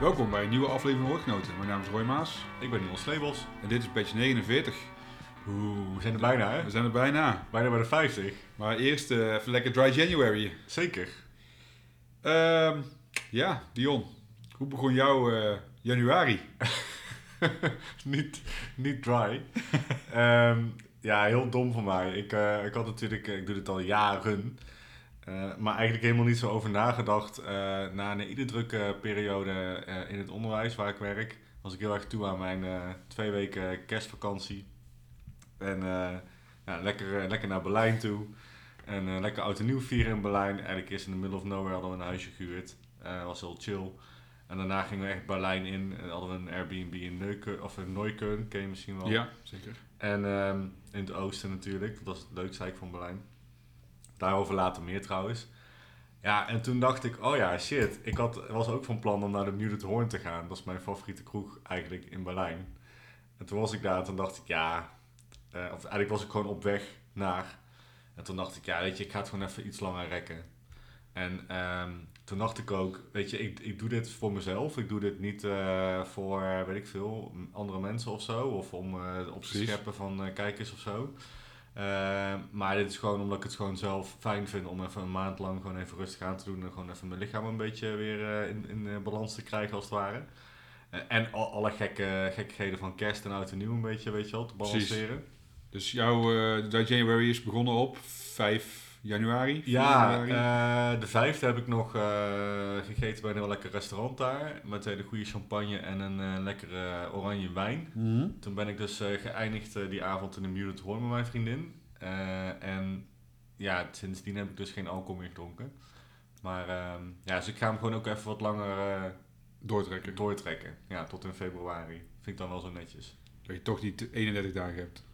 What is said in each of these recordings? Welkom bij een nieuwe aflevering van Hoorgenoten. Mijn naam is Roy Maas Ik ben Niels Slebels. en dit is patch 49. Oeh, we zijn er bijna, hè? We zijn er bijna. Bijna bij de 50. Maar eerst eh, even lekker Dry January. Zeker. Ehm, ja, Dion. Hoe begon jouw eh, januari? niet, niet dry. Ehm, ja, heel dom van mij. Ik, eh, ik had natuurlijk, eh, ik doe dit al jaren. eh, maar eigenlijk helemaal niet zo over nagedacht. Eh, na een hele drukke periode eh, in het onderwijs waar ik werk, was ik heel erg toe aan mijn eh, twee weken kerstvakantie. En eh, ja, lekker, eh, lekker naar Berlijn toe. En eh, lekker oud en nieuw vieren in Berlijn. Eigenlijk eerst in the middle of nowhere hadden we een huisje gehuurd. Eh was heel chill. En daarna gingen we echt Berlijn in. En hadden we een Airbnb in Neuken, of in Neukölln, ken je misschien wel. Ja, zeker. En ehm, in het oosten natuurlijk, dat is het leukste eigenlijk van Berlijn. Daarover later meer trouwens. Ja, en toen dacht ik, oh ja, shit. Ik had, was ook van plan om naar de Muted Horn te gaan. Dat is mijn favoriete kroeg eigenlijk in Berlijn. En toen was ik daar en toen dacht ik, ja... eh, of eigenlijk was ik gewoon op weg naar. En toen dacht ik, ja, weet je, ik ga het gewoon even iets langer rekken. En ehm, toen dacht ik ook, weet je, ik, ik doe dit voor mezelf. Ik doe dit niet eh, voor, eh, weet ik veel, m- andere mensen of zo. Of om eh, op te Precies. scheppen van eh, kijkers of zo. Ehm, maar dit is gewoon omdat ik het gewoon zelf fijn vind om even een maand lang gewoon even rustig aan te doen. En gewoon even mijn lichaam een beetje weer eh, in, in eh, balans te krijgen als het ware. Eh, en al- alle gekke, gekkigheden van kerst en oud en nieuw een beetje, weet je wel, te Precies. balanceren. Dus jouw eh Dry January is begonnen op 5 januari? 4 Ja, januari? eh, de vijfde heb ik nog eh, gegeten bij een heel lekker restaurant daar. Met hele goede champagne en een eh, lekkere oranje wijn. Mhm. Toen ben ik dus eh, geëindigd eh, die avond in de Muted Horn met mijn vriendin. Eh, en ja, sindsdien heb ik dus geen alcohol meer gedronken. Maar ehm, ja, dus ik ga hem gewoon ook even wat langer eh, Doortrekken. doortrekken. Ja, tot in februari. Vind ik dan wel zo netjes. Dat je toch die 31 dagen hebt.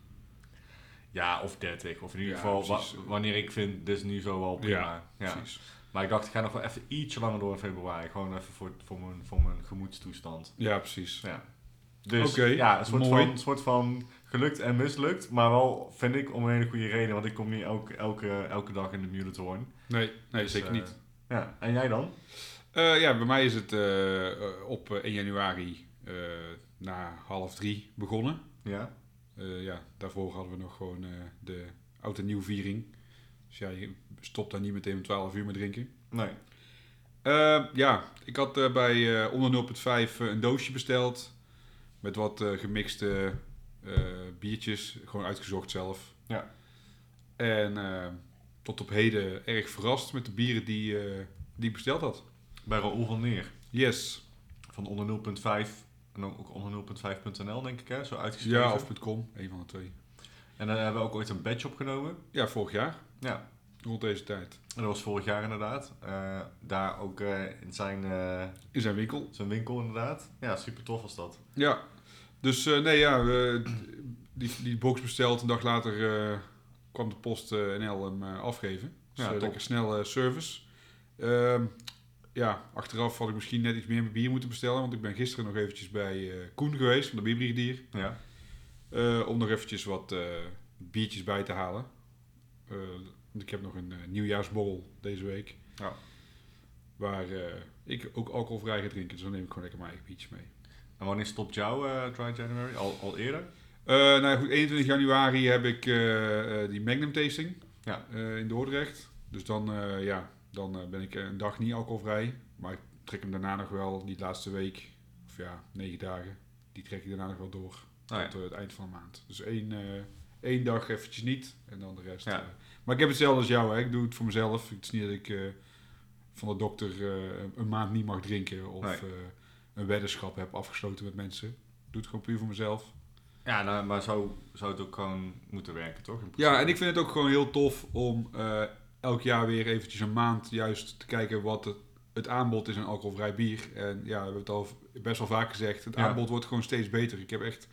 Ja, of 30. Of in ieder Ja, geval wa- precies. wanneer ik vind, dus nu zo wel prima. Ja, precies. Maar ik dacht, ik ga nog wel even ietsje langer door in februari. Gewoon even voor, voor, mijn, voor mijn gemoedstoestand. Ja, precies. Ja. Dus Oké, ja, een soort mooi. van, soort van gelukt en mislukt. Maar wel, vind ik, om een hele goede reden. Want ik kom niet elke, elke, elke dag in de muted horn. Nee, nee Dus, zeker eh, niet. Ja, en jij dan? Eh, ja, bij mij is het eh, eh, op eh, 1 januari eh, na half drie begonnen. Ja. Eh, ja, daarvoor hadden we nog gewoon eh, de oud en nieuw viering. Dus ja, je stopt daar niet meteen om 12 uur met drinken. Nee. Eh, ja, ik had eh, bij eh, onder 0.5 eh, een doosje besteld. Met wat eh, gemixte eh, biertjes. Gewoon uitgezocht zelf. Ja. En eh, tot op heden erg verrast met de bieren die, eh, die ik besteld had. Bij Raoul van Neer. Yes. Van onder 0.5. En ook onder 0.5.nl denk ik hè, zo uitgeschreven. Ja, of .com. Een van de twee. En daar hebben we ook ooit een badge opgenomen. Ja, vorig jaar. Ja, Rond deze tijd. En dat was vorig jaar inderdaad. Eh, daar ook eh, in zijn, eh, In zijn winkel. zijn winkel inderdaad. Ja, super tof was dat. Ja. Dus eh, nee, ja. we- die, die box besteld. Een dag later eh, kwam de post eh, NL hem eh, afgeven. Dus Ja, eh, top. lekker snelle service. Ehm, ja, achteraf had ik misschien net iets meer bier moeten bestellen. Want ik ben gisteren nog eventjes bij eh, Koen geweest, van de bierbrigadier. Ja. eh, om nog eventjes wat eh, biertjes bij te halen. Eh, want ik heb nog een eh, nieuwjaarsborrel deze week. Ja. Waar eh, ik ook alcoholvrij ga drinken. Dus dan neem ik gewoon lekker mijn eigen biertjes mee. En wanneer stopt jouw eh, Dry January? Al, al eerder? Eh, nou ja, goed, 21 januari heb ik eh, eh, die Magnum tasting Ja. eh, in Dordrecht. Dus dan, eh, ja, dan eh, ben ik een dag niet alcoholvrij. Maar ik trek hem daarna nog wel, die laatste week, of ja, negen dagen. Die trek ik daarna nog wel door Nou ja. tot eh, het eind van de maand. Dus één, eh, één dag eventjes niet en dan de rest. Ja. eh. maar ik heb hetzelfde als jou, hè. ik doe het voor mezelf. Het is niet dat ik eh, van de dokter eh, een maand niet mag drinken of Nee. eh, een weddenschap heb afgesloten met mensen. Ik doe het gewoon puur voor mezelf. Ja, nou, maar zo zou het ook gewoon moeten werken, toch? In principe. Ja, en ik vind het ook gewoon heel tof om eh, elk jaar weer eventjes een maand juist te kijken wat het, het aanbod is aan alcoholvrij bier. En ja, we hebben het al v- best wel vaak gezegd, het Ja. aanbod wordt gewoon steeds beter. Ik heb echt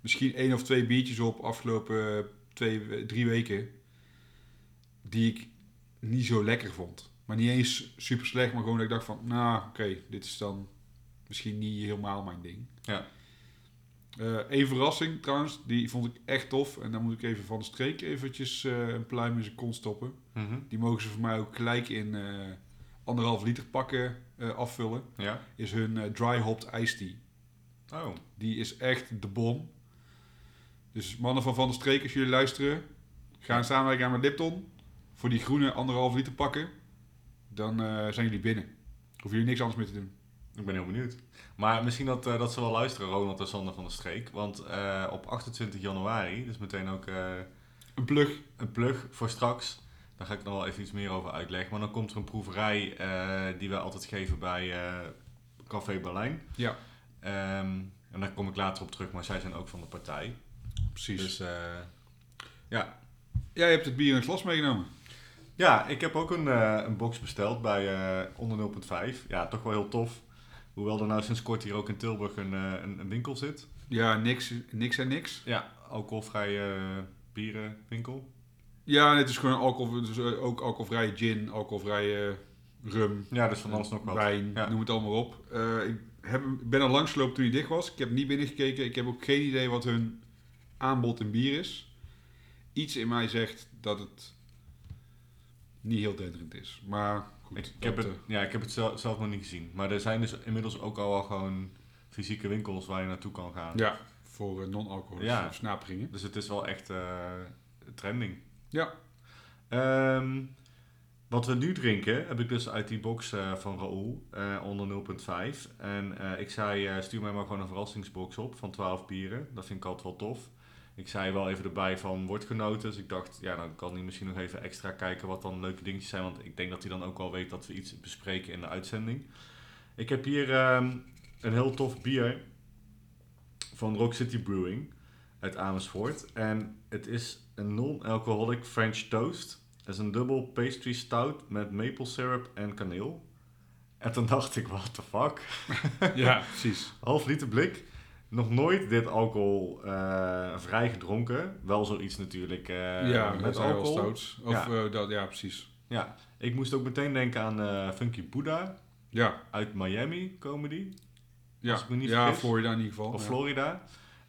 misschien één of twee biertjes op afgelopen eh, twee, we- drie weken die ik niet zo lekker vond. Maar niet eens super slecht, maar gewoon dat ik dacht van, nou oké, dit is dan misschien niet helemaal mijn ding. Ja. Eh, Eén verrassing trouwens, die vond ik echt tof. En daar moet ik even van de streek eventjes eh, een pluim in zijn kont stoppen. Mhm. Die mogen ze voor mij ook gelijk in eh, anderhalf liter pakken eh, afvullen, Ja? is hun eh, dry hopped iced tea. Oh, Die is echt de bom. Dus mannen van Van der Streek, als jullie luisteren, ga in samenwerking aan met Lipton voor die groene anderhalf liter pakken. Dan eh, zijn jullie binnen. Hoeven jullie niks anders meer te doen. ik ben heel benieuwd. Maar misschien dat, eh, dat ze wel luisteren, Ronald en Sander van der Streek. Want eh, op 28 januari, dus meteen ook eh, Een plug. een plug voor straks. Daar ga ik nog wel even iets meer over uitleggen. Maar dan komt er een proeverij eh, die wij altijd geven bij eh, Café Berlijn. Ja, Ehm, en daar kom ik later op terug, maar zij zijn ook van de partij. precies. Dus eh, Jij hebt het bier in het glas meegenomen. ja, ik heb ook een, eh, een box besteld bij eh onder 0.5. Ja, toch wel heel tof. Hoewel er nou sinds kort hier ook in Tilburg een, eh, een, een winkel zit. Ja, niks, niks en niks. Ja, alcoholvrije eh, bierenwinkel. Ja, het is gewoon alcohol, dus eh, ook alcoholvrije gin, alcoholvrije rum, Ja, dus van Eh, alles nog wat. wijn, Ja. noem het allemaal op. Eh, ik heb, hem- ik ben er langs gelopen toen hij dicht was. Ik heb niet binnengekeken. Ik heb ook geen idee wat hun aanbod in bier is. Iets in mij zegt dat het niet heel denderend is. Maar goed, Ik, ik, heb dat, het, eh, ja, ik heb het zelf, zelf nog niet gezien. Maar er zijn dus inmiddels ook al wel gewoon fysieke winkels waar je naartoe kan gaan. ja, voor eh, non-alcoholische Ja. versnaperingen. Dus het is wel echt eh, trending. Mhm. Ja. Ehm, wat we nu drinken, heb ik dus uit die box eh, van Raoul eh, onder 0.5. En eh, ik zei, eh, stuur mij maar gewoon een verrassingsbox op van 12 bieren. Dat vind ik altijd wel tof. Ik zei wel even erbij van wordt genoten. Dus ik dacht, ja, dan kan hij misschien nog even extra kijken wat dan leuke dingetjes zijn. Want ik denk dat hij dan ook wel weet dat we iets bespreken in de uitzending. Ik heb hier ehm, een heel tof bier van Rock City Brewing uit Amersfoort. En het is een non-alcoholic French toast. Het is een dubbel pastry stout met maple syrup en kaneel. En toen dacht ik, what the fuck? ja, precies. Half liter blik. Nog nooit dit alcohol eh, vrij gedronken. Wel zoiets natuurlijk eh, ja, met zijn wel alcohol. stouts. Of Ja. eh, dat, ja, precies. Ja, ik moest ook meteen denken aan eh, Funky Buddha Ja, uit Miami, comedy. ja. Als ik me niet ja vergis. Florida in ieder geval. Of Oh, Ja. Florida.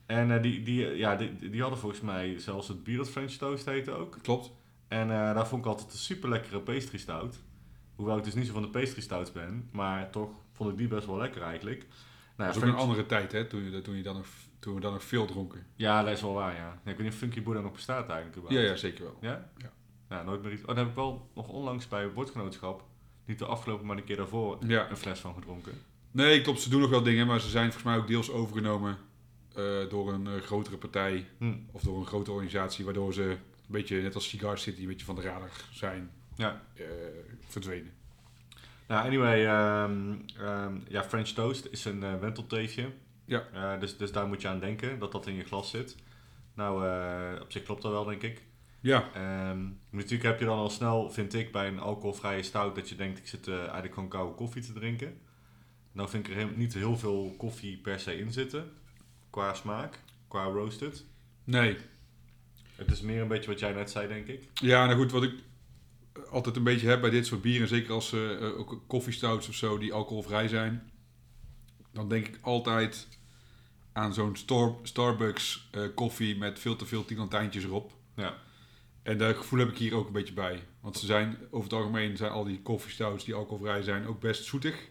En eh, die, die, ja, die, die hadden volgens mij zelfs het bier dat French Toast heette ook. Klopt. En eh, daar vond ik altijd een super lekkere pastry stout. Hoewel ik dus niet zo van de pastry stout ben, maar toch vond ik die best wel lekker eigenlijk. Nou, Dat ja, is ook een Funky- andere tijd, hè? Toen, je- toen, je dan nog, toen we dan nog veel dronken. ja, dat is wel waar, ja. Ja, Ik weet niet of Funky Buddha nog bestaat eigenlijk. Ja, überhaupt. ja, zeker wel. Ja? Ja. Nou, nooit meer iets. Oh, daar heb ik wel nog onlangs bij Woordgenootschap, niet de afgelopen, maar de keer daarvoor, Ja. een fles van gedronken. Nee, klopt. Ze doen nog wel dingen, maar ze zijn volgens mij ook deels overgenomen eh, door een eh, grotere partij Hm. of door een grote organisatie, waardoor ze een beetje, net als Cigar City, een beetje van de radar zijn Ja. eh, verdwenen. Nou, anyway, ehm, ehm, ja, French toast is een eh, wentelteefje. Ja. Eh, dus, dus daar moet je aan denken, dat dat in je glas zit. Nou, eh, op zich klopt dat wel, denk ik. Ja, Ehm, natuurlijk heb je dan al snel, vind ik, bij een alcoholvrije stout dat je denkt, ik zit eh, eigenlijk gewoon koude koffie te drinken. Nou vind ik er heel- niet heel veel koffie per se in zitten, qua smaak, qua roasted. nee. Het is meer een beetje wat jij net zei, denk ik. Ja, nou goed, wat ik altijd een beetje heb bij dit soort bieren, zeker als ze eh, ook koffiestouts of zo die alcoholvrij zijn, dan denk ik altijd aan zo'n Star- Starbucks eh, koffie met veel te veel tienantijntjes erop. Ja. En dat gevoel heb ik hier ook een beetje bij. Want ze zijn, over het algemeen zijn al die koffiestouts die alcoholvrij zijn ook best zoetig.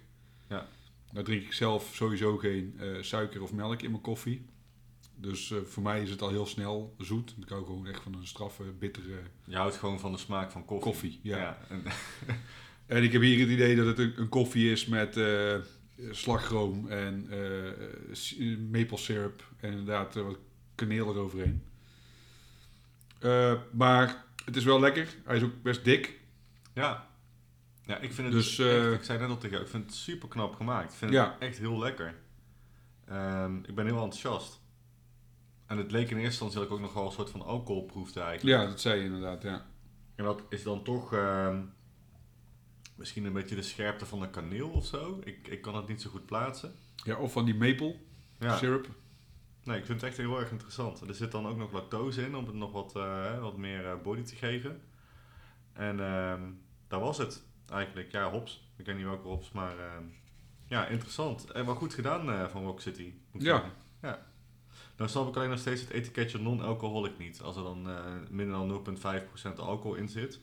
Ja. Nou drink ik zelf sowieso geen eh, suiker of melk in mijn koffie. Dus eh, voor mij is het al heel snel zoet. Ik hou gewoon echt van een straffe, bittere Je houdt gewoon van de smaak van koffie. koffie. Ja. en- En ik heb hier het idee dat het een, een koffie is met eh, slagroom en eh, si- maple syrup. En inderdaad eh, wat kaneel eroverheen. Eh, maar het is wel lekker. Hij is ook best dik. ja. Ja, ik vind het, Dus, dus, eh, ik zei net al tegen jou, ik vind het super knap gemaakt. Ik vind Ja. het echt heel lekker. Ehm, ik ben heel enthousiast. En het leek in eerste instantie dat ik ook nog wel een soort van alcohol proefde eigenlijk. Ja, dat zei je inderdaad, ja. En dat is dan toch ehm, misschien een beetje de scherpte van de kaneel of zo. Ik, ik kan het niet zo goed plaatsen. Ja, of van die maple Ja. syrup. Nee, ik vind het echt heel erg interessant. Er zit dan ook nog lactose in om het nog wat, eh, wat meer eh, body te geven. En ehm daar was het eigenlijk. Ja, hops. Ik weet niet welke hops, maar ehm, ja, interessant. En wel goed gedaan eh, van Rock City. moet ik Ja. zeggen. ja. Dan snap ik alleen nog steeds het etiketje non-alcoholic niet. Als er dan eh, minder dan 0,5% alcohol in zit.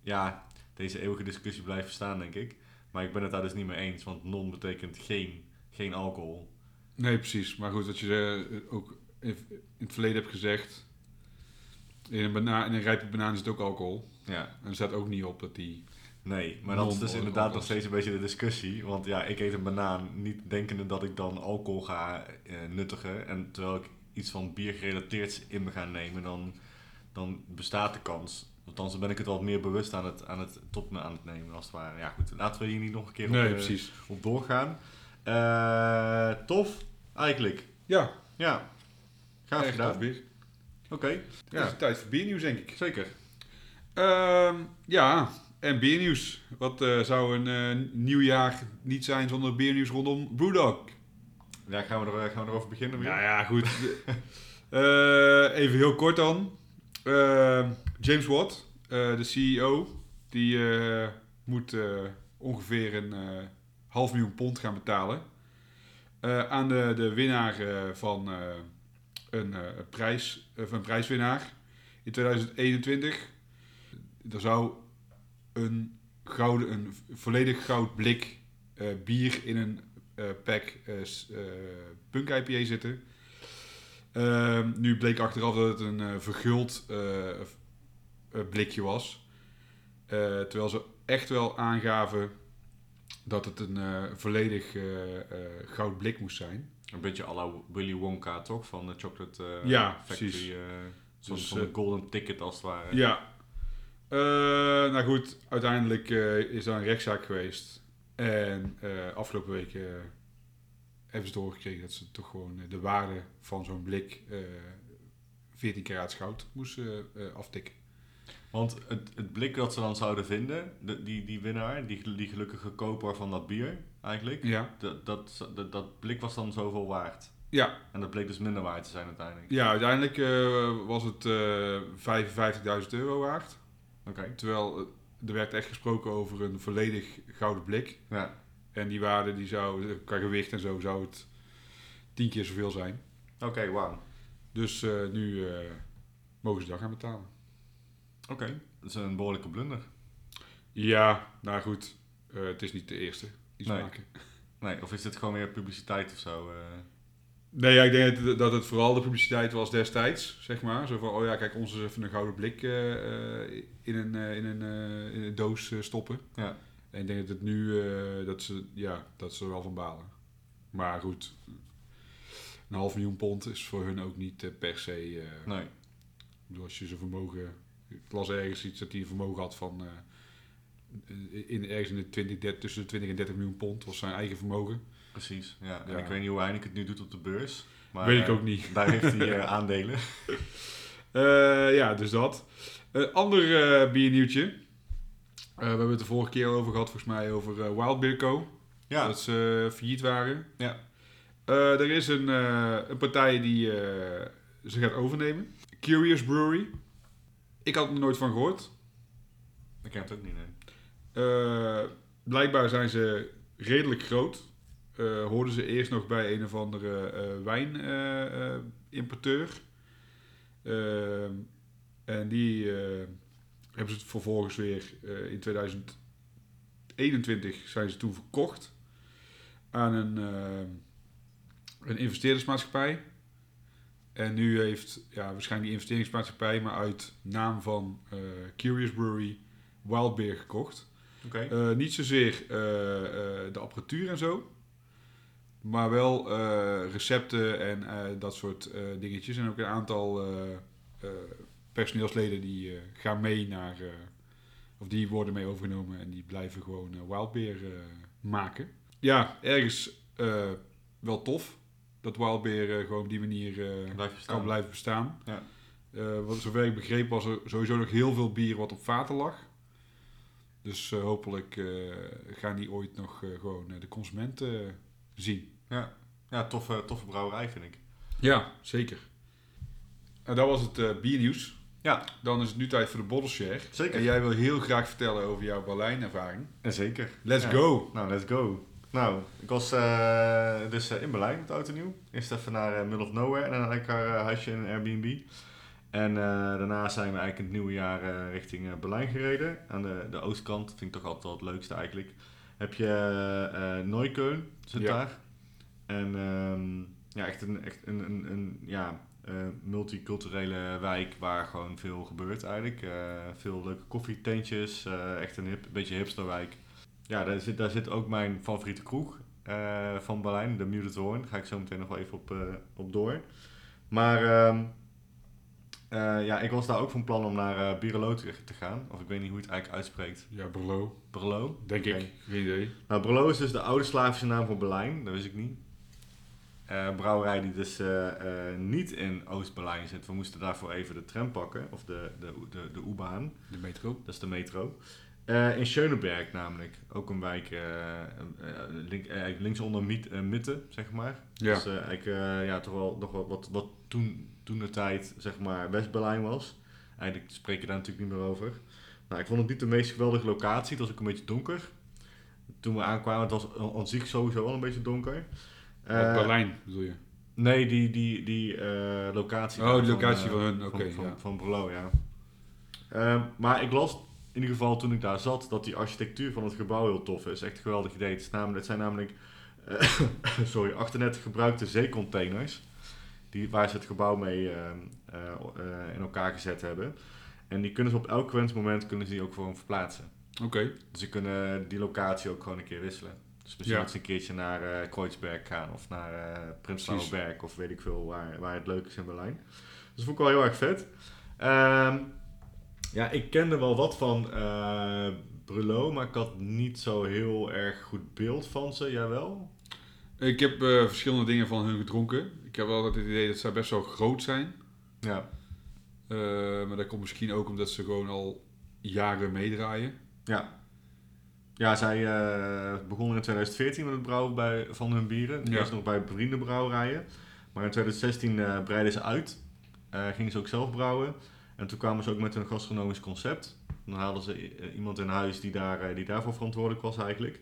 Ja, deze eeuwige discussie blijft bestaan, denk ik. Maar ik ben het daar dus niet mee eens, want non betekent geen, geen alcohol. Nee, precies. Maar goed, wat je eh, ook in in het verleden hebt gezegd. In een, bana- in een rijpe banaan zit ook alcohol. Ja, En er staat ook niet op dat die... nee. Maar dat is dus Non-alcohol inderdaad nog was. steeds een beetje de discussie. Want ja, ik eet een banaan niet denkende dat ik dan alcohol ga eh, nuttigen. En terwijl ik iets van bier gerelateerd in me ga nemen, dan, dan bestaat de kans. Althans, dan ben ik het wat meer bewust aan het, aan het tot me aan het nemen, als het ware. Ja, goed. Laten we hier niet nog een keer op, Nee, eh, precies. op doorgaan. Eh, tof, eigenlijk. Ja, Ja, gaaf echt gedaan. tof bier. Oké, Ja. Het is tijd voor biernieuws, denk ik. zeker. Ehm, ja, en biernieuws. Wat eh, zou een eh, nieuw jaar niet zijn zonder biernieuws rondom Brewdog? Ja, gaan we, er, eh, gaan we erover beginnen weer? Nou ja, goed. Eh, even heel kort dan. Eh, James Watt, eh, de CEO, die eh, moet eh, ongeveer een eh, half miljoen pond gaan betalen. eh, aan de, de winnaar eh, van eh, een, eh, een prijs, eh, van een prijswinnaar in 2021. Er zou een, gouden, een volledig goud blik eh, bier in een eh, pack eh, s- eh, punk IPA zitten. Ehm, nu bleek achteraf dat het een eh, verguld eh, f- eh, blikje was. Eh, terwijl ze echt wel aangaven dat het een eh, volledig eh, eh, goud blik moest zijn. Een beetje à la Willy Wonka, toch? Van de Chocolate eh, Ja, precies. Factory. eh Zo'n Dus, zo'n eh, golden ticket, als het ware. Ja. Eh, nou goed, uiteindelijk eh, is daar een rechtszaak geweest. En eh, afgelopen week eh, hebben ze doorgekregen dat ze toch gewoon eh, de waarde van zo'n blik eh 14 karaat goud moesten eh, eh, aftikken. Want het, het blik dat ze dan zouden vinden, de- die, die winnaar, die, die gelukkige koper van dat bier eigenlijk, Ja, dat, dat, dat, dat blik was dan zoveel waard. ja, En dat bleek dus minder waard te zijn uiteindelijk. ja uiteindelijk eh, was het eh 55.000 euro waard. Oké. Terwijl eh, er werd echt gesproken over een volledig gouden blik. Ja, En die waarde, die zou, qua gewicht en zo, zou het 10 keer zoveel zijn. oké, wauw. Dus eh, nu eh, mogen ze daar gaan betalen. Oké, dat is een behoorlijke blunder. Ja, nou goed. eh, het is niet de eerste die ze Nee. maken. Nee, of is dit gewoon weer publiciteit of zo? eh? Nee, ja, ik denk dat- dat het vooral de publiciteit was destijds, zeg maar. Zo van, oh ja, kijk, ons is even een gouden blik eh, eh, in, een, eh, in, een, eh, in een doos eh, stoppen. Ja. En ik denk dat het nu, eh, dat, ze, ja, dat ze er wel van balen. Maar goed, een half miljoen pond is voor hun ook niet eh, per se... eh, Nee. Ik bedoel, als je zijn vermogen. Ik las ergens iets dat hij een vermogen had van. eh, in, ergens in de 20, 30 tussen de 20 en 30 miljoen pond was zijn eigen vermogen. Precies, ja. En Ja. ik weet niet hoe Heineken het nu doet op de beurs. Maar, Weet ik eh, ook niet. Daar heeft hij eh, aandelen. Eh, ja, dus dat. Een ander eh, biernieuwtje. Eh, we hebben het de vorige keer over gehad, volgens mij, over eh, Wild Beer Co. Ja, Dat ze eh, failliet waren. Ja. Eh, er is een, eh, een partij die eh, ze gaat overnemen. Curious Brewery. Ik had er nooit van gehoord. ik ken het ook niet, nee. Eh, blijkbaar zijn ze redelijk groot. Eh, hoorden ze eerst nog bij een of andere eh, wijnimporteur. Eh, en die eh, hebben ze het vervolgens weer eh, in 2021 zijn ze toen verkocht aan een, eh, een investeerdersmaatschappij. En nu heeft ja, waarschijnlijk die investeringsmaatschappij, maar uit naam van eh, Curious Brewery, Wild Beer gekocht. Oké. Eh, niet zozeer eh, eh, de apparatuur en zo. Maar wel eh, recepten en eh, dat soort eh, dingetjes. En ook een aantal eh, eh, personeelsleden die eh, gaan mee naar. eh, of die worden mee overgenomen en die blijven gewoon eh wildbeer eh, maken. Ja, ergens eh, wel tof dat wildbeer eh, gewoon op die manier eh, Blijf je kan staan. blijven bestaan. Ja. Eh, wat zover ik begreep was er sowieso nog heel veel bier wat op vaten lag. Dus eh, hopelijk eh, gaan die ooit nog eh, gewoon eh, de consumenten zien. Ja, toffe, toffe brouwerij vind ik. Ja, zeker. En dat was het eh, biernieuws. Ja. Dan is het nu tijd voor de bottle share. Zeker. En jij wil heel graag vertellen over jouw Berlijn-ervaring. En zeker. Let's Ja. go! Nou, let's go. Nou, ik was eh, dus eh, in Berlijn met Oud en Nieuw. Eerst even naar eh, Middle of Nowhere en dan had ik haar eh, huisje in een Airbnb. En eh, daarna zijn we eigenlijk in het nieuwe jaar eh, richting eh, Berlijn gereden. Aan de, de oostkant, dat vind ik toch altijd wel het leukste eigenlijk. Heb je eh eh, Neukölln, zit Ja. daar. En ehm, ja, echt een, echt een, een, een ja, eh, multiculturele wijk waar gewoon veel gebeurt eigenlijk. Eh, veel leuke koffietentjes, eh, echt een hip, beetje hipsterwijk. Ja, daar zit, daar zit ook mijn favoriete kroeg eh, van Berlijn, de Muted Horn. Daar ga ik zo meteen nog wel even op, eh, op door. Maar ehm, eh, ja, ik was daar ook van plan om naar eh Bierlo terug te gaan. Of ik weet niet hoe je het eigenlijk uitspreekt. Ja, Berlo, Berlo? denk Oké. ik. Geen idee. Nou, Brelo is dus de oude Slavische naam voor Berlijn, dat wist ik niet. Eh, brouwerij die dus eh, eh, niet in Oost-Berlijn zit. We moesten daarvoor even de tram pakken, of de, de, de, de U-baan, De metro. dat is de metro. Eh, in Schöneberg namelijk, ook een wijk eh, eh, link, eh, linksonder Miet, eh, Mitte, zeg maar. Ja. Dus eh, eigenlijk eh, ja, toch wel nog wel wat, wat toen, toen de tijd zeg maar West-Berlijn was. Eigenlijk spreek je daar natuurlijk niet meer over. Nou, ik vond het niet de meest geweldige locatie. Het was ook een beetje donker. Toen we aankwamen, het was aan- aan zich sowieso wel een beetje donker. Op Eh, Berlijn bedoel je? Nee, die, die, die eh, locatie. Oh, daar die locatie eh, van hun, oké, van, ja. van Brelo, ja. Ehm, maar ik las in ieder geval toen ik daar zat dat die architectuur van het gebouw heel tof is. Echt een geweldig idee. Het, is namelijk, het zijn namelijk eh, sorry, 38 gebruikte zeecontainers. Die, waar ze het gebouw mee ehm, eh, eh, in elkaar gezet hebben. En die kunnen ze op elk wensmoment kunnen ze die ook gewoon verplaatsen. Oké. Dus ze kunnen die locatie ook gewoon een keer wisselen. Dus misschien Ja. dat ze een keertje naar eh Kreuzberg gaan of naar eh Prenzlauer Precies. Berg of weet ik veel waar, waar het leuk is in Berlijn. Dus dat vond ik wel heel erg vet. Ehm, ja, ik kende wel wat van eh Brelo, maar ik had niet zo heel erg goed beeld van ze. Jij wel? Ik heb eh, verschillende dingen van hun gedronken. Ik heb altijd het idee dat zij best wel groot zijn. Ja. Eh, maar dat komt misschien ook omdat ze gewoon al jaren meedraaien. Ja, zij eh, begonnen in 2014 met het brouwen bij, van hun bieren. Ja. Eerst nog bij bevriende brouwerijen. Maar in 2016 eh breidden ze uit. Eh, gingen ze ook zelf brouwen. En toen kwamen ze ook met hun gastronomisch concept. Dan haalden ze i- eh, iemand in huis die, daar, eh, die daarvoor verantwoordelijk was eigenlijk.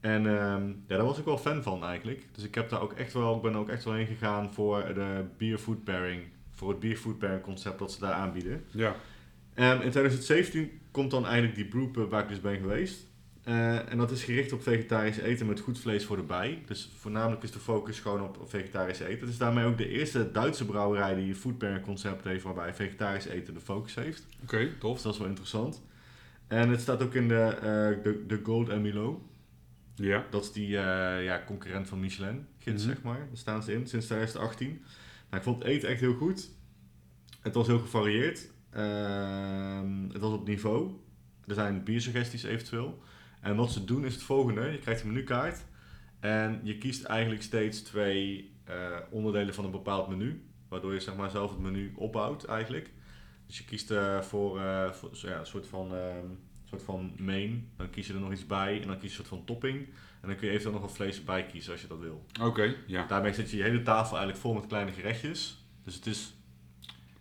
En ehm, ja, daar was ik wel fan van eigenlijk. Dus ik heb daar ook echt wel, ik ben er ook echt wel heen gegaan voor de beer food pairing. Voor het beer food pairing concept dat ze daar aanbieden. Ja. Ehm, in 2017 komt dan eigenlijk die brewpub waar ik dus ben geweest. Eh, en dat is gericht op vegetarisch eten met goed vlees voor de bij. Dus voornamelijk is de focus gewoon op vegetarisch eten. Het is daarmee ook de eerste Duitse brouwerij die een foodpairing concept heeft waarbij vegetarisch eten de focus heeft. Oké, tof. Dus dat is wel interessant. En het staat ook in de, eh, de, de Gold en Milo. Ja. Dat is die eh, ja, concurrent van Michelin, gids Mhm. zeg maar. Daar staan ze in sinds 2018. Nou, ik vond het eten echt heel goed. Het was heel gevarieerd. Ehm, het was op niveau. Er zijn biersuggesties eventueel. En wat ze doen is het volgende. Je krijgt een menukaart. En je kiest eigenlijk steeds twee eh, onderdelen van een bepaald menu. Waardoor je zeg maar, zelf het menu opbouwt eigenlijk. Dus je kiest eh, voor, eh, voor- zo- ja, een soort van, ehm, soort van main. Dan kies je er nog iets bij. En dan kies je een soort van topping. En dan kun je eventueel nog een vlees bij kiezen als je dat wil. Oké, ja. Daarmee zet je je hele tafel eigenlijk vol met kleine gerechtjes. Dus het is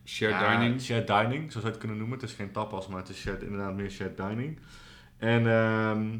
Shared ja, dining. Shared dining, zo zou je het kunnen noemen. Het is geen tapas, maar het is shared, inderdaad meer shared dining. En ehm,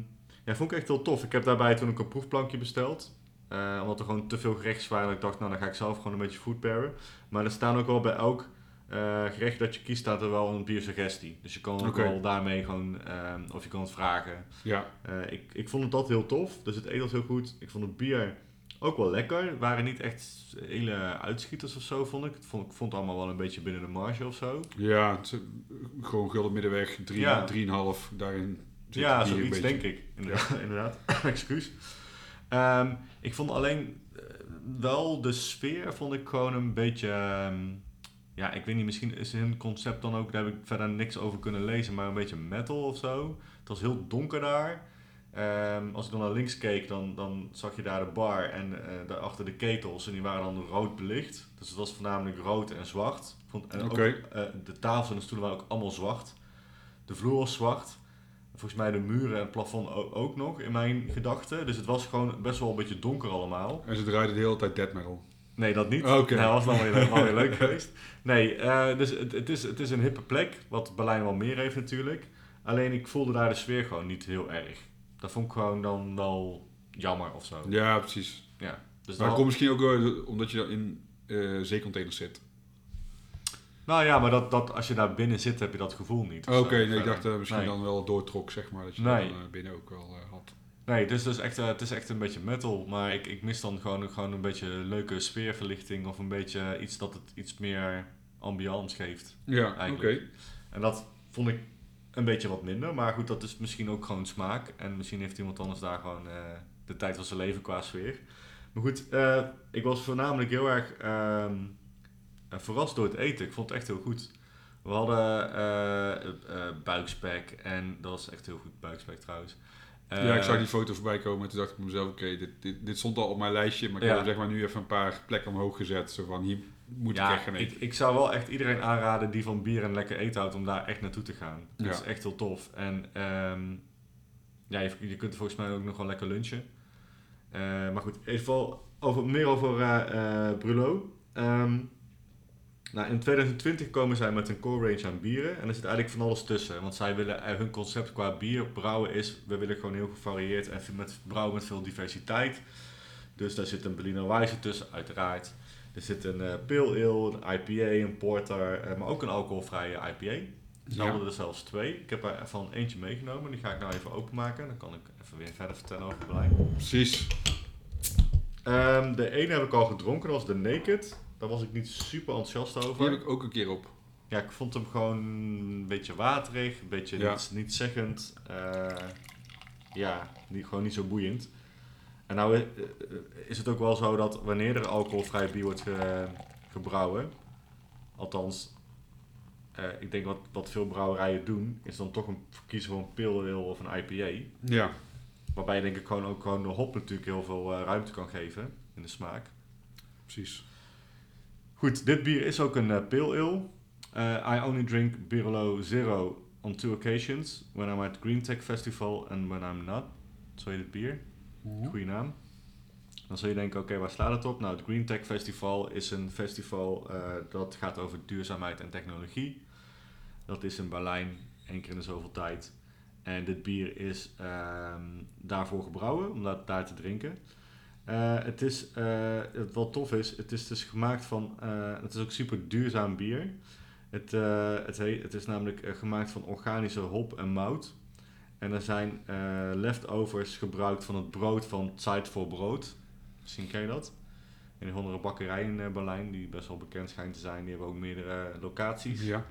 ja, vond ik echt heel tof. Ik heb daarbij toen ook een proefplankje besteld. Eh, omdat er gewoon te veel gerechtjes waren. dat Ik dacht, nou dan ga ik zelf gewoon een beetje food pairen. Maar er staan ook wel bij elk eh, gerecht dat je kiest, staat er wel een biersuggestie. Dus je kan ook Oké. wel daarmee gewoon, ehm, of je kan het vragen. Ja. Eh, ik, ik vond het dat heel tof. Dus het eten was heel goed. Ik vond het bier ook wel lekker. Het waren niet echt hele uitschieters of zo, vond ik. Het vond, ik vond het allemaal wel een beetje binnen de marge of zo. Ja, het, is, eh, gewoon gulden middenweg. Drie, Ja. Drieënhalf. Daarin zit ja, het bier zoiets een beetje. denk ik. Inderdaad. inderdaad. Excuus. Ehm, ik vond alleen eh, wel de sfeer vond ik gewoon een beetje... ehm, ja, ik weet niet, misschien is hun concept dan ook... Daar heb ik verder niks over kunnen lezen, maar een beetje metal of zo. Het was heel donker daar. Ehm, als ik dan naar links keek, dan, dan zag je daar de bar en eh, daarachter de ketels. En die waren dan rood belicht. Dus het was voornamelijk rood en zwart. Ik vond, en ook, Oké. eh, de tafels en de stoelen waren ook allemaal zwart. De vloer was zwart. Volgens mij de muren en het plafond o- ook nog, in mijn gedachten. Dus het was gewoon best wel een beetje donker allemaal. En ze draaiden de hele tijd death metal. Nee, dat niet. Oké. Nou, dat was wel weer, leuk- wel weer leuk geweest. Nee, eh, dus het, het, is, het is een hippe plek, wat Berlijn wel meer heeft natuurlijk. Alleen ik voelde daar de sfeer gewoon niet heel erg. Dat vond ik gewoon dan wel jammer of zo. Ja, precies. Ja. Dus maar dan dat komt misschien ook eh, omdat je in eh zeecontainers zit. Nou ja, maar dat, dat, als je daar binnen zit, heb je dat gevoel niet. Oké, Dus, eh, nee, ik verder. dacht eh, misschien Nee. dan wel doortrok, zeg maar. Dat je Nee. dan eh, binnen ook wel eh, had. Nee, dus, dus echt, eh, het is echt een beetje metal. Maar ik, ik mis dan gewoon, gewoon een beetje leuke sfeerverlichting. Of een beetje iets dat het iets meer ambiance geeft. Ja, oké. Eigenlijk. En dat vond ik een beetje wat minder. Maar goed, dat is misschien ook gewoon smaak. En misschien heeft iemand anders daar gewoon eh, de tijd van zijn leven qua sfeer. Maar goed, eh, ik was voornamelijk heel erg ehm, eh, verrast door het eten. Ik vond het echt heel goed. We hadden eh, eh, buikspek. En dat was echt heel goed buikspek trouwens. ja, ik Eh, zag die foto voorbij komen en toen dacht ik bij mezelf, oké, dit, dit, dit stond al op mijn lijstje, maar ik Ja. heb er, zeg maar nu even een paar plekken omhoog gezet. Zo van, hier moet ik echt gaan eten. ik, ik zou wel echt iedereen aanraden die van bier en lekker eten houdt om daar echt naartoe te gaan. Dat Ja. is echt heel tof. En ehm, ja, je, je kunt er volgens mij ook nog wel lekker lunchen. Eh, maar goed, even wel over, meer over eh eh, Brulo. Ehm, nou, in 2020 komen zij met een core range aan bieren. En er zit eigenlijk van alles tussen. Want zij willen, eh, hun concept qua bier brouwen is... We willen gewoon heel gevarieerd en veel- met, brouwen met veel diversiteit. Dus daar zit een Berliner Weisse tussen, uiteraard. Er zit een eh pale ale, een IPA, een porter, eh, maar ook een alcoholvrije IPA. Ze Ja. Dus hadden er zelfs twee. Ik heb er van eentje meegenomen. Die ga ik nou even openmaken. Dan kan ik even weer verder vertellen over het beleid. Precies. Ehm, de ene heb ik al gedronken, dat was de Naked. Daar was ik niet super enthousiast Die over. heb ik ook een keer op. Ja, ik vond hem gewoon een beetje waterig, een beetje Ja. niet, zeggend. ja, niet, gewoon niet zo boeiend. En nou eh, eh, is het ook wel zo dat wanneer er alcoholvrij bier wordt ge- gebrouwen, althans, eh, ik denk wat, wat veel brouwerijen doen, is dan toch een, kiezen voor een pale ale of een IPA. Ja. Waarbij je denk ik gewoon ook gewoon de hop natuurlijk heel veel eh, ruimte kan geven in de smaak. Precies. Goed, dit bier is ook een eh, pale ale. Eh, I only drink Birolo Zero on two occasions. When I'm at Green Tech Festival and when I'm not. Zo heet het bier. Goeie naam. Dan zul je denken, oké, waar slaat het op? Nou, het Green Tech Festival is een festival eh, dat gaat over duurzaamheid en technologie. Dat is in Berlijn, één keer in de zoveel tijd. En dit bier is ehm, daarvoor gebrouwen, om dat daar te drinken. Eh, het is, eh, het wat tof is, het is dus gemaakt van, eh, het is ook super duurzaam bier. Het, eh, het, he- het is namelijk eh, gemaakt van organische hop en mout. En er zijn eh, leftovers gebruikt van het brood van Zeit voor Brood. Misschien ken je dat. In een andere bakkerij in eh, Berlijn, die best wel bekend schijnt te zijn. Die hebben ook meerdere eh, locaties. Ja.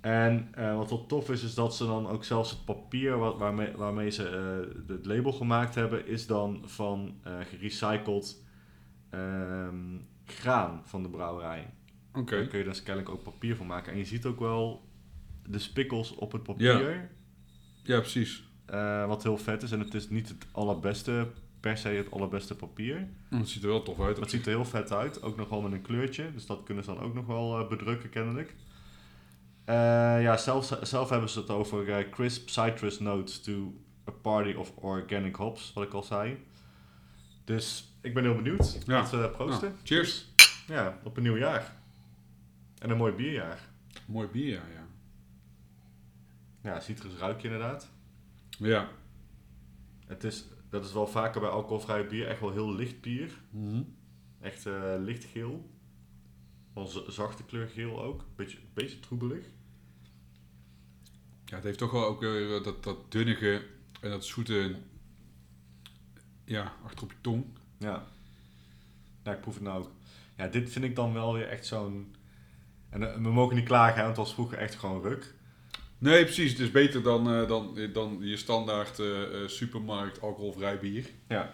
En eh, wat wel tof is, is dat ze dan ook zelfs het papier wat, waarmee, waarmee ze eh, het label gemaakt hebben, is dan van eh, gerecycled ehm, graan van de brouwerij. Oké. Daar kun je dus kennelijk ook papier van maken. En je ziet ook wel de spikkels op het papier, Ja, precies. eh, wat heel vet is. En het is niet het allerbeste, per se het allerbeste papier. Het ziet er wel tof uit. Dat ziet er heel vet uit. Ook nog wel met een kleurtje. Dus dat kunnen ze dan ook nog wel eh, bedrukken, kennelijk. Eh, ja, zelf, zelf hebben ze het over eh, crisp citrus notes to a party of organic hops, wat ik al zei. Dus ik ben heel benieuwd. Ja. Laten we proosten. Nou, cheers. Ja, op een nieuw jaar. En een mooi bierjaar. Mooi bier, ja. Ja. Ja, citrus ruik je inderdaad. ja. Het is, dat is wel vaker bij alcoholvrij bier echt wel heel licht bier. Echt eh, lichtgeel. Wel z- zachte kleur geel ook. Beetje, beetje troebelig. Ja, het heeft toch wel ook eh, dat, dat dunnige en dat zoete... Ja, achter op je tong. Ja. Ja, ik proef het nou ook. Ja, dit vind ik dan wel weer echt zo'n... En eh, we mogen niet klagen, hè, want het was vroeger echt gewoon ruk. Nee, precies. Het is beter dan, eh, dan, dan je standaard eh, eh, supermarkt alcoholvrij bier. Ja.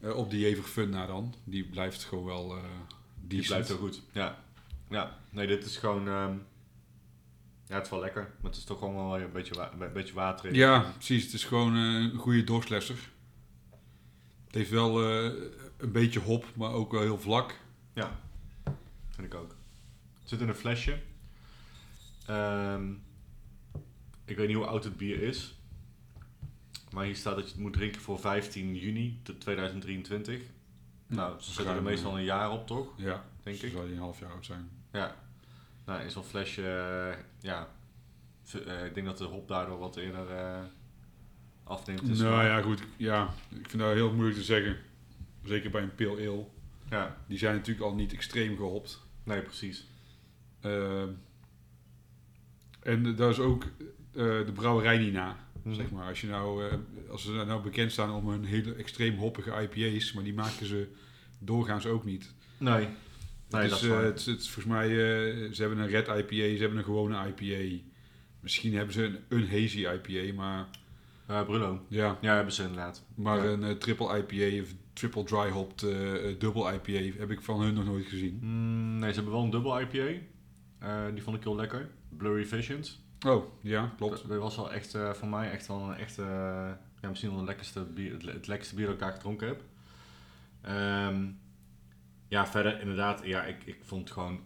Eh, op die Jever Funna dan. Die blijft gewoon wel... eh Die decent. blijft zo goed. Ja. Ja. Nee, dit is gewoon... ehm, Ja, het is wel lekker. Maar het is toch gewoon wel weer een beetje, wa- een beetje waterig. Ja, precies. Het is gewoon eh, een goede dorstlesser. Het heeft wel eh, een beetje hop, maar ook wel heel vlak. Vind ik ook. Het zit in een flesje. Ehm, ik weet niet hoe oud het bier is. Maar hier staat dat je het moet drinken voor 15 juni te- 2023. Nou, ze zetten er Ruim, eh, meestal een jaar op, toch? Ja, Denk denk ik. ik. zou die een half jaar oud zijn. Ja. Nou, in zo'n flesje, eh, ja. V- eh, ik denk dat de hop daardoor wat eerder eh, afneemt. in Nou smaak. ja, goed. Ja, ik vind dat heel moeilijk te zeggen. Zeker bij een pale ale. ja. Die zijn natuurlijk al niet extreem gehopt. Nee, precies. Ehm, En eh, daar is ook eh, de brouwerij niet na. Mhm. Zeg maar, als, je nou, eh, als ze nou bekend staan om hun hele extreem hoppige IPA's, maar die maken ze doorgaans ook niet. Nee. Nee, dus, dat is waar. het, het is volgens mij, eh, ze hebben een red IPA, ze hebben een gewone IPA. Misschien hebben ze een, een hazy IPA, maar Eh, Bruno. ja, Ja, hebben ze inderdaad. maar Ja. een eh, triple IPA of triple dry hopped eh, eh, dubbel IPA heb ik van hun nog nooit gezien. Mm, nee, ze hebben wel een dubbel IPA. Eh, die vond ik heel lekker. Blurry Visions. Oh, ja, klopt. Dat, dat was wel echt eh, voor mij echt wel een echte, eh, ja, misschien wel het lekkerste bier, het, le- het lekkerste bier dat ik daar gedronken heb. Ehm, ja, verder inderdaad, ja, ik, ik vond het gewoon,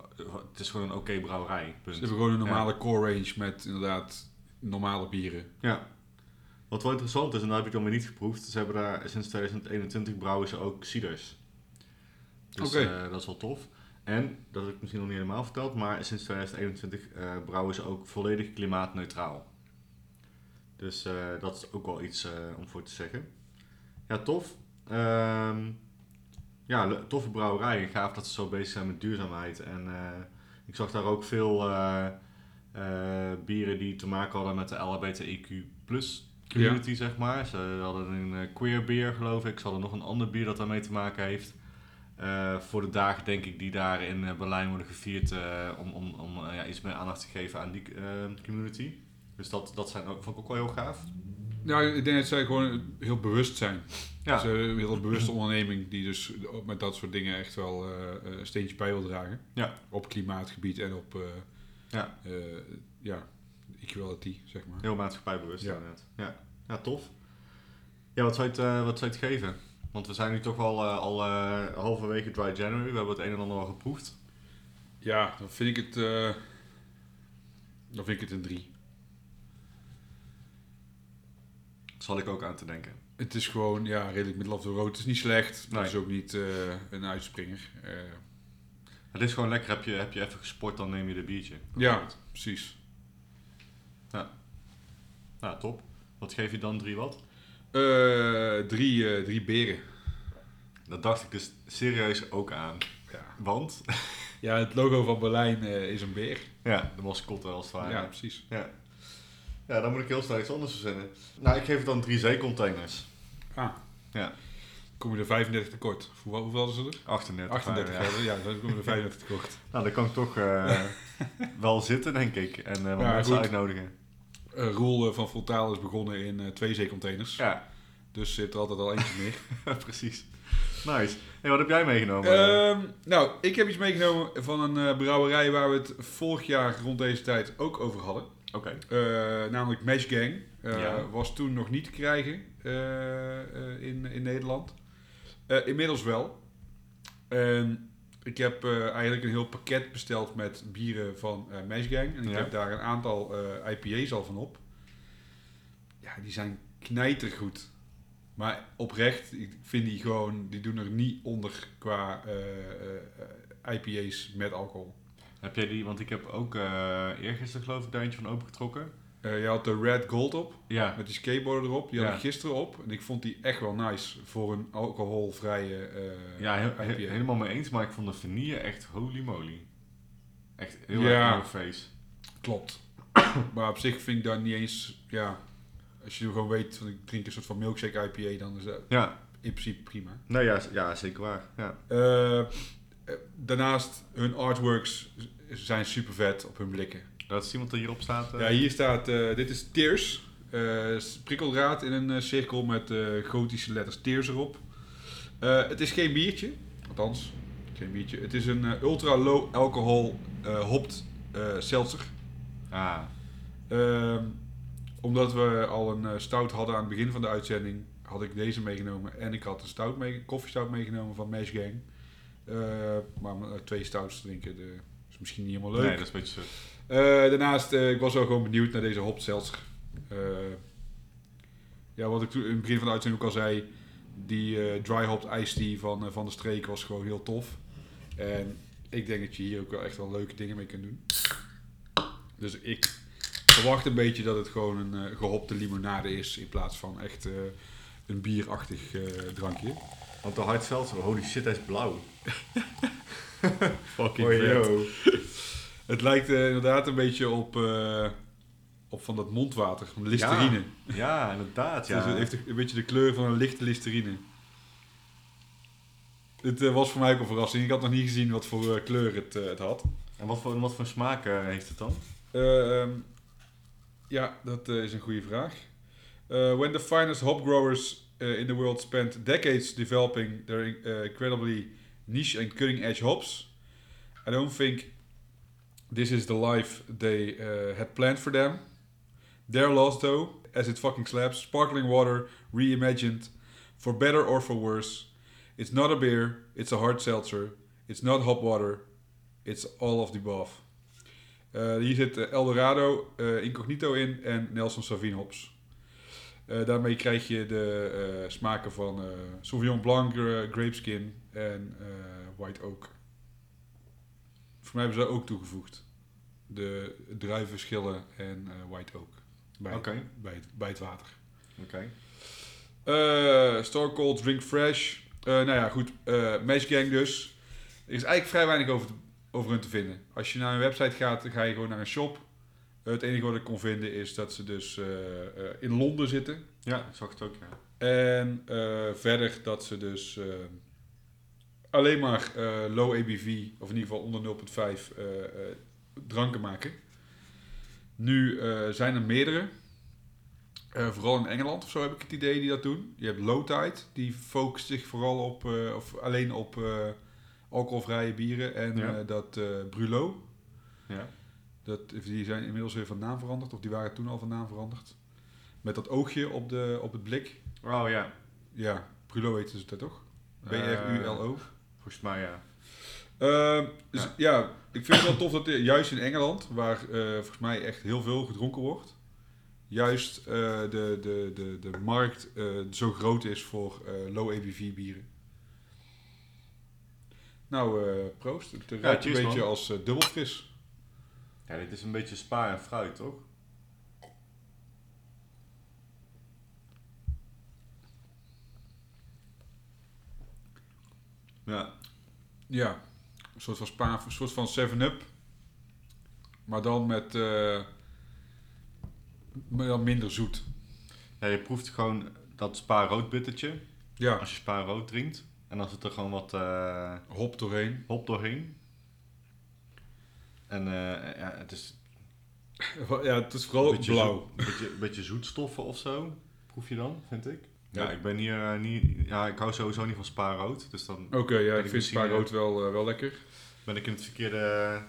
het is gewoon een oké brouwerij. Ze Punt. hebben gewoon een normale core range met inderdaad normale bieren. Ja. Wat wel interessant is, en dat heb ik dan weer niet geproefd, ze hebben daar sinds 2021 brouwen ze ook ciders. Dus Oké. eh, dat is wel tof. En, dat heb ik misschien nog niet helemaal verteld, maar sinds 2021 eh, brouwen ze ook volledig klimaatneutraal. Dus eh, dat is ook wel iets eh, om voor te zeggen. Ja, tof. Ehm, ja, le- toffe brouwerij. Gaaf dat ze zo bezig zijn met duurzaamheid. En eh, ik zag daar ook veel eh, eh, bieren die te maken hadden met de LHBTIQ plus community, zeg maar. Ze hadden een eh, queer bier, geloof ik. Ze hadden nog een ander bier dat daarmee te maken heeft. Eh, voor de dagen, denk ik, die daar in eh, Berlijn worden gevierd eh, om, om, om eh, ja, iets meer aandacht te geven aan die eh, community. Dus dat, dat zijn ook, vond ik ook wel heel gaaf. Nou, ik denk dat zij gewoon heel bewust zijn. Ja. Ze hebben een heel bewuste onderneming die dus met dat soort dingen echt wel eh, een steentje bij wil dragen. Ja. Op klimaatgebied en op eh, Ja. eh, ja, equality, zeg maar. Heel maatschappijbewust Ja. inderdaad. Ja. ja, tof. Ja, wat zou je het, eh, wat zou je het geven? Want we zijn nu toch wel eh, al eh, halverwege Dry January. We hebben het een en ander al geproefd. Ja, dan vind ik het, eh, dan vind ik het een drie. Dat zal ik ook aan te denken. Het is gewoon ja, redelijk middel of the road. Het is niet slecht, maar het Nee. is ook niet eh, een uitspringer. Eh, Het is gewoon lekker. Heb je, heb je even gesport, dan neem je de biertje. ja, precies. Nou, top. Wat geef je dan? Drie wat? Eh, drie, eh, drie beren. Dat dacht ik dus serieus ook aan. Ja. Want? ja, het logo van Berlijn eh, is een beer. Ja, de mascotte als het ware. Ja, Ja. precies. ja. Ja, dan moet ik heel snel iets anders verzinnen. Nou, ik geef het dan drie zeecontainers. Ah. Ja. Kom je er 35 tekort? Hoeveel, hoeveel hadden ze er? 38. 38 ja. hadden, ja, dan kom je er 35 tekort. Nou, dan kan ik toch eh, wel zitten, denk ik. En eh wat Ja, mensen goed. uitnodigen. Eh Roel eh, van Voltaal is begonnen in eh, twee zeecontainers. Ja, Dus zit er altijd al eentje meer. precies. Nice. Hey, wat heb jij meegenomen? Ehm, nou, ik heb iets meegenomen van een eh, brouwerij waar we het vorig jaar rond deze tijd ook over hadden. Oké. Eh, namelijk Mesh Gang. Eh, Ja. Was toen nog niet te krijgen eh, eh, in, in Nederland. Eh, inmiddels wel. En ik heb eh, eigenlijk een heel pakket besteld met bieren van eh Mesh Gang. En ik Ja. heb daar een aantal eh, IPA's al van op. Ja, die zijn knijtergoed. Maar oprecht, ik vind die gewoon, die doen er niet onder qua eh, eh, IPA's met alcohol. Heb jij die, want ik heb ook eh eergisteren geloof ik daar eentje van opengetrokken. Eh, je had de Red Gold op. Ja. Met die skateboarder erop. Die had Ja. ik gisteren op. En ik vond die echt wel nice voor een alcoholvrije eh Ja, he- he- IPA. helemaal mee eens, maar ik vond de vanille echt holy moly. Echt heel Ja. erg in mijn face. Klopt. maar op zich vind ik dat niet eens... Ja, als je gewoon weet, van ik drink een soort van milkshake IPA, dan is dat Ja, in principe prima. nou ja, z- ja zeker waar. Ja. Eh, eh, daarnaast, hun artworks zijn super vet op hun blikken. Dat is iemand die hierop staat. eh? Ja, hier staat, eh, dit is Tears. Eh prikkeldraad in een eh, cirkel met eh, gotische letters Tears erop. Eh, het is geen biertje, althans, geen biertje. Het is een eh, ultra low alcohol eh hopt eh seltzer. Ah, Ehm, omdat we al een eh, stout hadden aan het begin van de uitzending, had ik deze meegenomen. En ik had een stout mee, koffiestout meegenomen van Mesh Gang. Eh, maar om, eh, twee stouts te drinken eh, is misschien niet helemaal leuk. nee, dat is een beetje zut. Eh, daarnaast, eh, ik was wel gewoon benieuwd naar deze Hop Seltzer. Eh, ja, wat ik toen in het begin van de uitzending ook al zei, die eh, dry hopped iced tea van, eh, van de streek was gewoon heel tof. En ik denk dat je hier ook wel echt wel leuke dingen mee kunt doen. Dus ik verwacht een beetje dat het gewoon een eh, gehopte limonade is in plaats van echt eh, een bierachtig eh, drankje. Want de hard seltzer, holy shit, hij is blauw. Fucking Hoi, vet. yo. Het lijkt eh, inderdaad een beetje op eh, op van dat mondwater, van listerine. Ja, inderdaad. Ja. Dus het heeft een beetje de kleur van een lichte listerine. Dit eh, was voor mij ook een verrassing. Ik had nog niet gezien wat voor eh, kleur het, eh, het had. En wat voor, wat voor smaak eh, heeft het dan? Eh, ehm, ja, dat eh, is een goede vraag. Eh, when the finest hop growers eh, in the world spent decades developing their eh, incredibly niche and cutting edge hops, I don't think this is the life they eh, had planned for them. Their loss, though, as it fucking slaps, sparkling water reimagined, for better or for worse. It's not a beer, it's a hard seltzer. It's not hop water, it's all of the above. Eh, hier zit eh, Eldorado, eh, Incognito in en Nelson Savine hops. Eh, daarmee krijg je de eh, smaken van eh, Sauvignon Blanc, eh, Grapeskin en eh, White Oak. Voor mij hebben ze dat ook toegevoegd. De druivenschillen en eh, White Oak. Bij, Oké. bij, het, bij het water. Oké. Eh Star Cold, Drink Fresh. Eh, nou ja, goed. eh Mesh Gang dus. Er is eigenlijk vrij weinig over, te- over hun te vinden. Als je naar een website gaat, dan ga je gewoon naar een shop. Eh, het enige wat ik kon vinden is dat ze dus eh, eh, in Londen zitten. Ja, ik zag het ook, ja. En eh, verder dat ze dus eh, alleen maar eh, low ABV, of in ieder geval onder 0,5 eh, eh, dranken maken. Nu eh, zijn er meerdere, Eh, vooral in Engeland of zo heb ik het idee, die dat doen. Je hebt Low Tide, die focust zich vooral op, eh, of alleen op eh, alcoholvrije bieren. En Ja. eh, dat eh Brulot, Ja, dat, die zijn inmiddels weer van naam veranderd, of die waren toen al van naam veranderd. Met dat oogje op, de, op het blik. oh, ja. Ja, Brulo heette ze dat toch? Eh, B-R-U-L-O. volgens mij ja. Ehm, dus ja. ik vind het wel tof dat eh, juist in Engeland, waar eh, volgens mij echt heel veel gedronken wordt, juist eh, de, de, de, de markt eh, zo groot is voor eh, low ABV bieren. Nou, eh, proost. Het ruikt cheers, een beetje man. als eh, dubbelfris. Ja, dit is een beetje spa en fruit, toch? Ja, Ja, een soort van spa, een soort van 7-up. Maar dan met eh, maar dan minder zoet. ja je proeft gewoon dat spa rood bittertje. Ja, Als je spa rood drinkt. En dan zit er gewoon wat eh, hop doorheen. hop doorheen. En eh, ja, het is Ja, het is vooral ook beetje blauw. zoet- Een beetje, een beetje zoetstoffen of zo. Proef je dan, vind ik. Ja, Ja. ik ben hier eh, niet... Ja, ik hou sowieso niet van spa rood. Dus dan Oké, ja, ik ik vind misschien, spa rood wel, eh, wel lekker. ben ik in het verkeerde...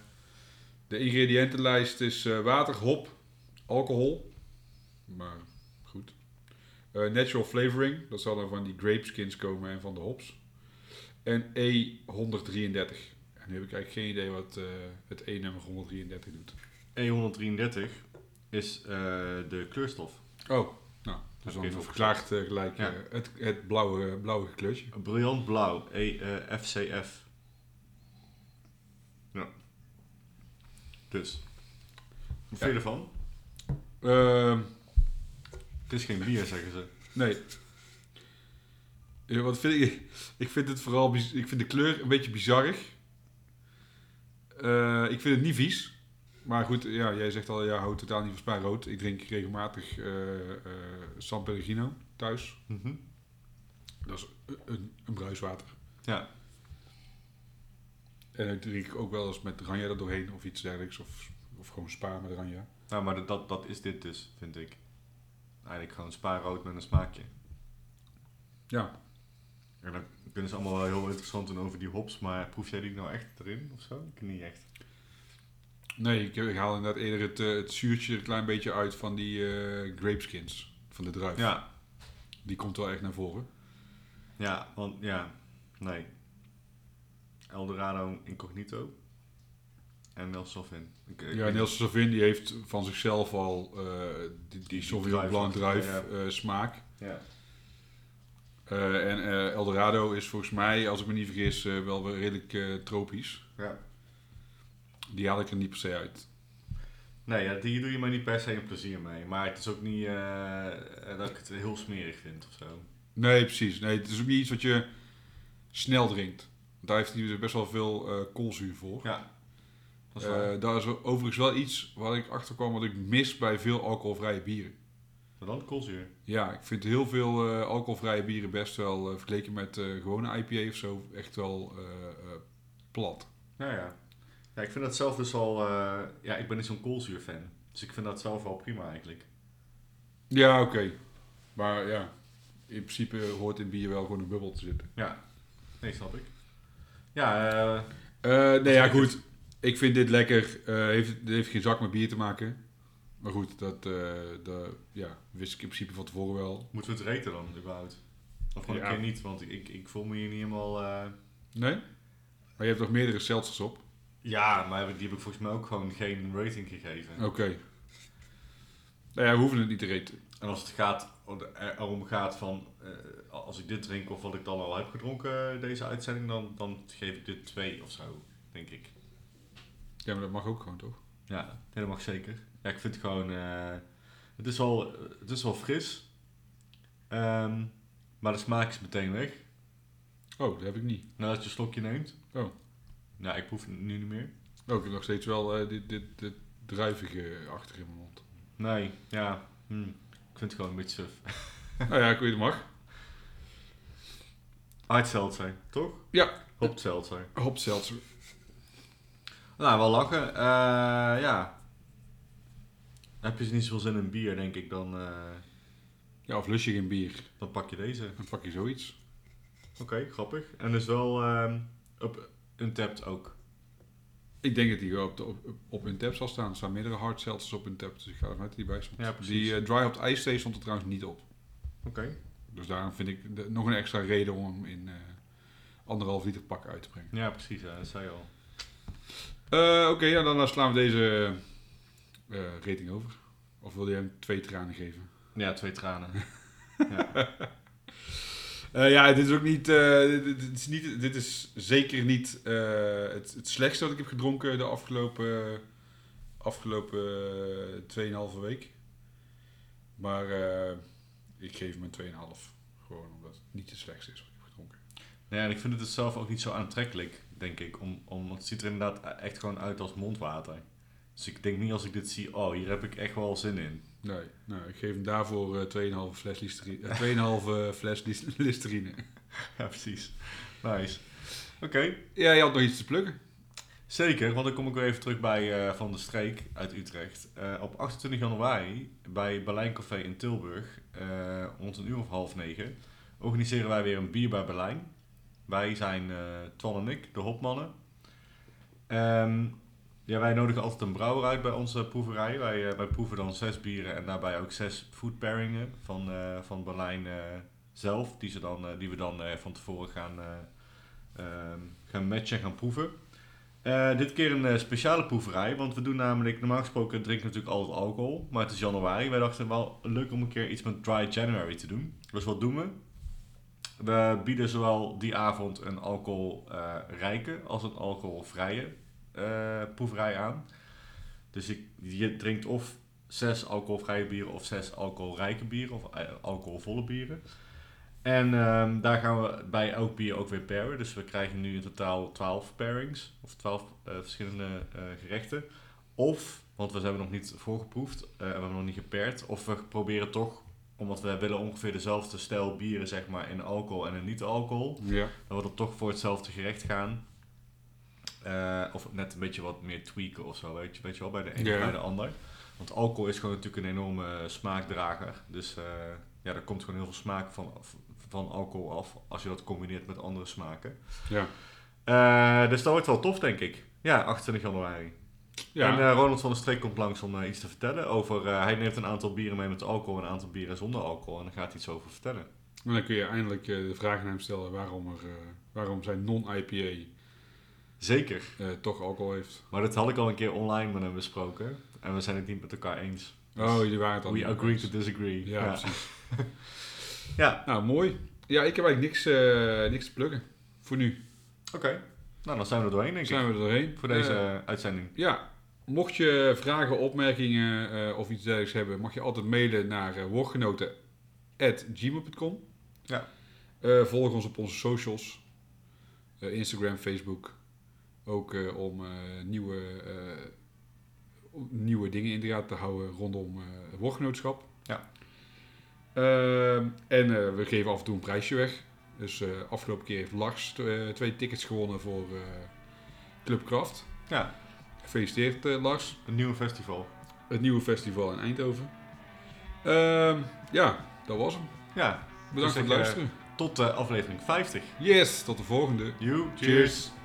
De ingrediëntenlijst is eh, water, hop, alcohol. Maar goed. Eh, natural flavoring, dat zal dan van die grapeskins komen en van de hops. En E133. En nu heb ik eigenlijk geen idee wat eh, het E-nummer 133 doet. E133 E is eh, de kleurstof. Oh, nou, dus ik dan even verklaart eh, gelijk Ja. eh, het, het blauwe, blauwe kleurtje. Briljant blauw. E, eh, FCF. Ja. Dus. Wat vind je ervan? Ehm, Het is geen bier, zeggen ze. Nee. Ja, wat vind ik? Ik vind het vooral. biz- Ik vind de kleur een beetje bizarrig. Eh, ik vind het niet vies. Maar goed, ja, jij zegt al, ja, houdt totaal niet van spa rood. Ik drink regelmatig eh, eh, San Pellegrino thuis. Mhm. Dat is een, een bruiswater. Ja. En ik drink ook wel eens met Ranja er doorheen of iets dergelijks. Of, of gewoon spa met Ranja. Nou, maar dat- dat, dat is dit dus, vind ik. Eigenlijk gewoon spa rood met een smaakje. Ja. En dan kunnen ze allemaal wel heel interessant doen over die hops, maar proef jij die nou echt erin of zo? Ik niet echt. Nee, ik, ik haal inderdaad eerder het, eh, het zuurtje er een klein beetje uit van die eh grapeskins. Van de druif. Ja, Die komt wel echt naar voren. ja, want ja, nee. Eldorado Incognito en Nelson Sovin. Ik- ik Ja, weet Niels Savin die heeft van zichzelf al eh, die, die Sauvignon druif- Blanc druif ja. eh, smaak. niet. Ja. Eh, en eh, Eldorado is volgens mij, als ik me niet vergis, eh, wel weer redelijk eh, tropisch. ja. Die haal ik er niet per se uit. Nee, ja, hier doe je mij niet per se een plezier mee. Maar het is ook niet eh, dat ik het heel smerig vind of zo. Nee, precies. Nee, het is ook niet iets wat je snel drinkt. Want Daar heeft hij dus best wel veel eh koolzuur voor. Ja. Dat is waar. Eh, daar is wel- overigens wel iets waar ik achter kwam wat ik mis bij veel alcoholvrije bieren. maar dan koolzuur. Ja, ik vind heel veel eh, alcoholvrije bieren best wel, eh, vergeleken met eh, gewone IPA of zo, echt wel eh, eh, plat. Nou ja. ja. Ik vind dat zelf dus al... eh, ja, ik ben niet zo'n koolzuur fan. Dus ik vind dat zelf wel prima eigenlijk. Ja, oké. Maar ja, in principe hoort in bier wel gewoon een bubbel te zitten. Ja. Nee, snap ik. Ja, eh, Eh, nee, ja, goed. Ik vind dit lekker. Eh, heeft, het heeft geen zak met bier te maken. Maar goed, dat, eh, dat ja, wist ik in principe van tevoren wel. moeten we het reten dan, überhaupt? Of gewoon Ja. een keer niet, want ik, ik, ik voel me hier niet helemaal... eh, Nee? Maar je hebt nog meerdere seltzers op. Ja, maar die heb ik volgens mij ook gewoon geen rating gegeven. Oké. Nou ja, we hoeven het niet te reten. En als het gaat, eh, erom gaat van, eh, als ik dit drink of wat ik dan al heb gedronken eh, deze uitzending, dan, dan geef ik dit twee of zo, denk ik. Ja, maar dat mag ook gewoon, toch? Ja, nee, dat mag zeker. Ja, ik vind het gewoon, eh, het, is wel, het is wel fris, Ehm, maar de smaak is meteen weg, Oh, dat heb ik niet. nadat je een slokje neemt. Oh. Nou, ik proef het nu niet meer. Oh, ik heb nog steeds wel eh, dit, dit, dit druivige achter in mijn mond. Nee, ja, hm, ik vind het gewoon een beetje suf. nou ja, ik weet het mag. Hard seltzer, toch? Ja. Hop seltzer. Hop seltzer. Nou, wel lachen. Eh, ja. Heb je niet zoveel zin in bier, denk ik, dan, eh, Ja, of lust je geen bier, dan pak je deze. dan pak je zoiets. Oké, grappig. En dus wel ehm op Untapped ook. Ik denk dat die wel op, de- op, op hun tab zal staan. Er staan meerdere hard seltzers op hun tab, dus ik ga ervan uit dat die bij stond. Ja, precies. Die eh, dry-hopped ijs thee stond er trouwens niet op. Oké. Dus daarom vind ik de- nog een extra reden om hem in eh, anderhalf liter pak uit te brengen. Ja, precies. Ja, dat zei je al. Eh, Oké, ja, dan eh, slaan we deze eh, rating over. Of wil je hem twee tranen geven? Ja, twee tranen. Eh, ja, dit is ook niet, eh, dit, dit is niet. Dit is zeker niet eh, het, het slechtste wat ik heb gedronken de afgelopen, afgelopen eh, 2,5 week. Maar eh, ik geef hem een 2,5. Gewoon omdat het niet het slechtste is wat ik heb gedronken. nee, en ik vind het dus zelf ook niet zo aantrekkelijk, denk ik. Om, om, want het ziet er inderdaad echt gewoon uit als mondwater. Dus ik denk niet als ik dit zie, oh, hier heb ik echt wel zin in. Nee, nou, ik geef hem daarvoor eh 2,5 fles listerine. eh, 2,5 eh, fles lis- listerine. Ja, precies. Nice. Oké. Ja, je had nog iets te plukken. Zeker, want dan kom ik weer even terug bij eh, Van der Streek uit Utrecht. Eh, op 28 januari bij Berlijn Café in Tilburg, eh, rond een uur of half negen, organiseren wij weer een bier bij Berlijn. Wij zijn eh, Twan en ik, de hopmannen. Ehm, ja, wij nodigen altijd een brouwer uit bij onze proeverij. Wij, eh, wij proeven dan zes bieren en daarbij ook zes food pairingen van, eh, van Berlijn eh, zelf, die, ze dan, eh, die we dan eh, van tevoren gaan, eh, ehm, gaan matchen en gaan proeven. Eh, dit keer een eh, speciale proeverij, want we doen namelijk, normaal gesproken drinken we natuurlijk altijd alcohol, maar het is januari. Wij dachten wel leuk om een keer iets met Dry January te doen. Dus wat doen we? We bieden zowel die avond een alcoholrijke eh, als een alcoholvrije eh, proeverij aan. Dus ik, je drinkt of zes alcoholvrije bieren of zes alcoholrijke bieren of eh, alcoholvolle bieren. En ehm, daar gaan we bij elk bier ook weer pairen. Dus we krijgen nu in totaal 12 pairings. Of 12 eh, verschillende eh, gerechten. Of, want we hebben nog niet voorgeproefd. eh, en we hebben nog niet gepaired. Of we proberen toch, omdat we willen ongeveer dezelfde stijl bieren zeg maar in alcohol en in niet-alcohol. Ja. Dat we dan toch voor hetzelfde gerecht gaan. Eh, of net een beetje wat meer tweaken of zo, weet je, weet je wel, bij de een Ja. of bij de ander. Want alcohol is gewoon natuurlijk een enorme eh, smaakdrager. Dus eh, ja, er komt gewoon heel veel smaak van, van alcohol af als je dat combineert met andere smaken. Ja. Eh, dus dat wordt wel tof, denk ik. Ja, 28 januari. Ja. En eh, Ronald van der Streek komt langs om eh, iets te vertellen over... eh, hij neemt een aantal bieren mee met alcohol en een aantal bieren zonder alcohol. En daar gaat hij iets over vertellen. En dan kun je eindelijk eh, de vraag aan hem stellen waarom, er, eh, waarom zijn non-IPA Zeker. eh, toch alcohol heeft. Maar dat had ik al een keer online met hem besproken. En we zijn het niet met elkaar eens. Dus Oh, jullie waren het al. we niet. agree to disagree. Ja, ja. precies. Ja. Nou, mooi. Ja, ik heb eigenlijk niks, eh, niks te plukken. Voor nu oké. Nou, dan zijn we er doorheen, denk zijn ik. we er doorheen. Voor deze Eh, eh, uitzending. ja, mocht je vragen, opmerkingen eh, of iets dergelijks hebben, mag je altijd mailen naar uh, woordgenoten.gmail.com. Ja. Eh, volg ons op onze socials. Eh, Instagram, Facebook. Ook eh, om eh, nieuwe, eh, om nieuwe dingen in de gaten te houden rondom eh het woordgenootschap. Ja. Ehm, en eh, we geven af en toe een prijsje weg. Dus eh, afgelopen keer heeft Lars eh, twee tickets gewonnen voor eh Club Kraft. Ja. Gefeliciteerd eh, Lars Een nieuw festival. het nieuwe festival in Eindhoven. Ehm, ja, dat was hem. Ja, Bedankt Dus voor het ik, eh, luisteren. tot eh, aflevering 50. Yes, tot de volgende. You, Cheers.